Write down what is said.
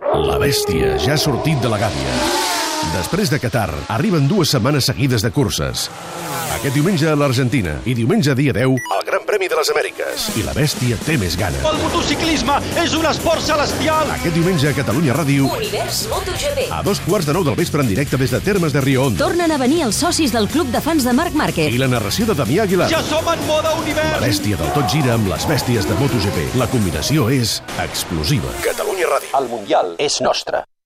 La bèstia ja ha sortit de la gàbia. Després de Qatar, arriben dues setmanes seguides de curses. Aquest diumenge a l'Argentina i diumenge dia 10 al Gran Premi de les Amèriques. I la bèstia té més gana. El motociclisme és un esport celestial. Aquest diumenge a Catalunya Ràdio, Univers MotoGP. a dos quarts de nou del vespre en directe des de Termes de Rio Hondo. Tornen a venir els socis del Club de Fans de Marc Márquez. I la narració de Damià Aguilar. Ja som en moda La univers. bèstia del tot gira amb les bèsties de MotoGP. La combinació és explosiva. Catalunya Ràdio. El Mundial és nostre.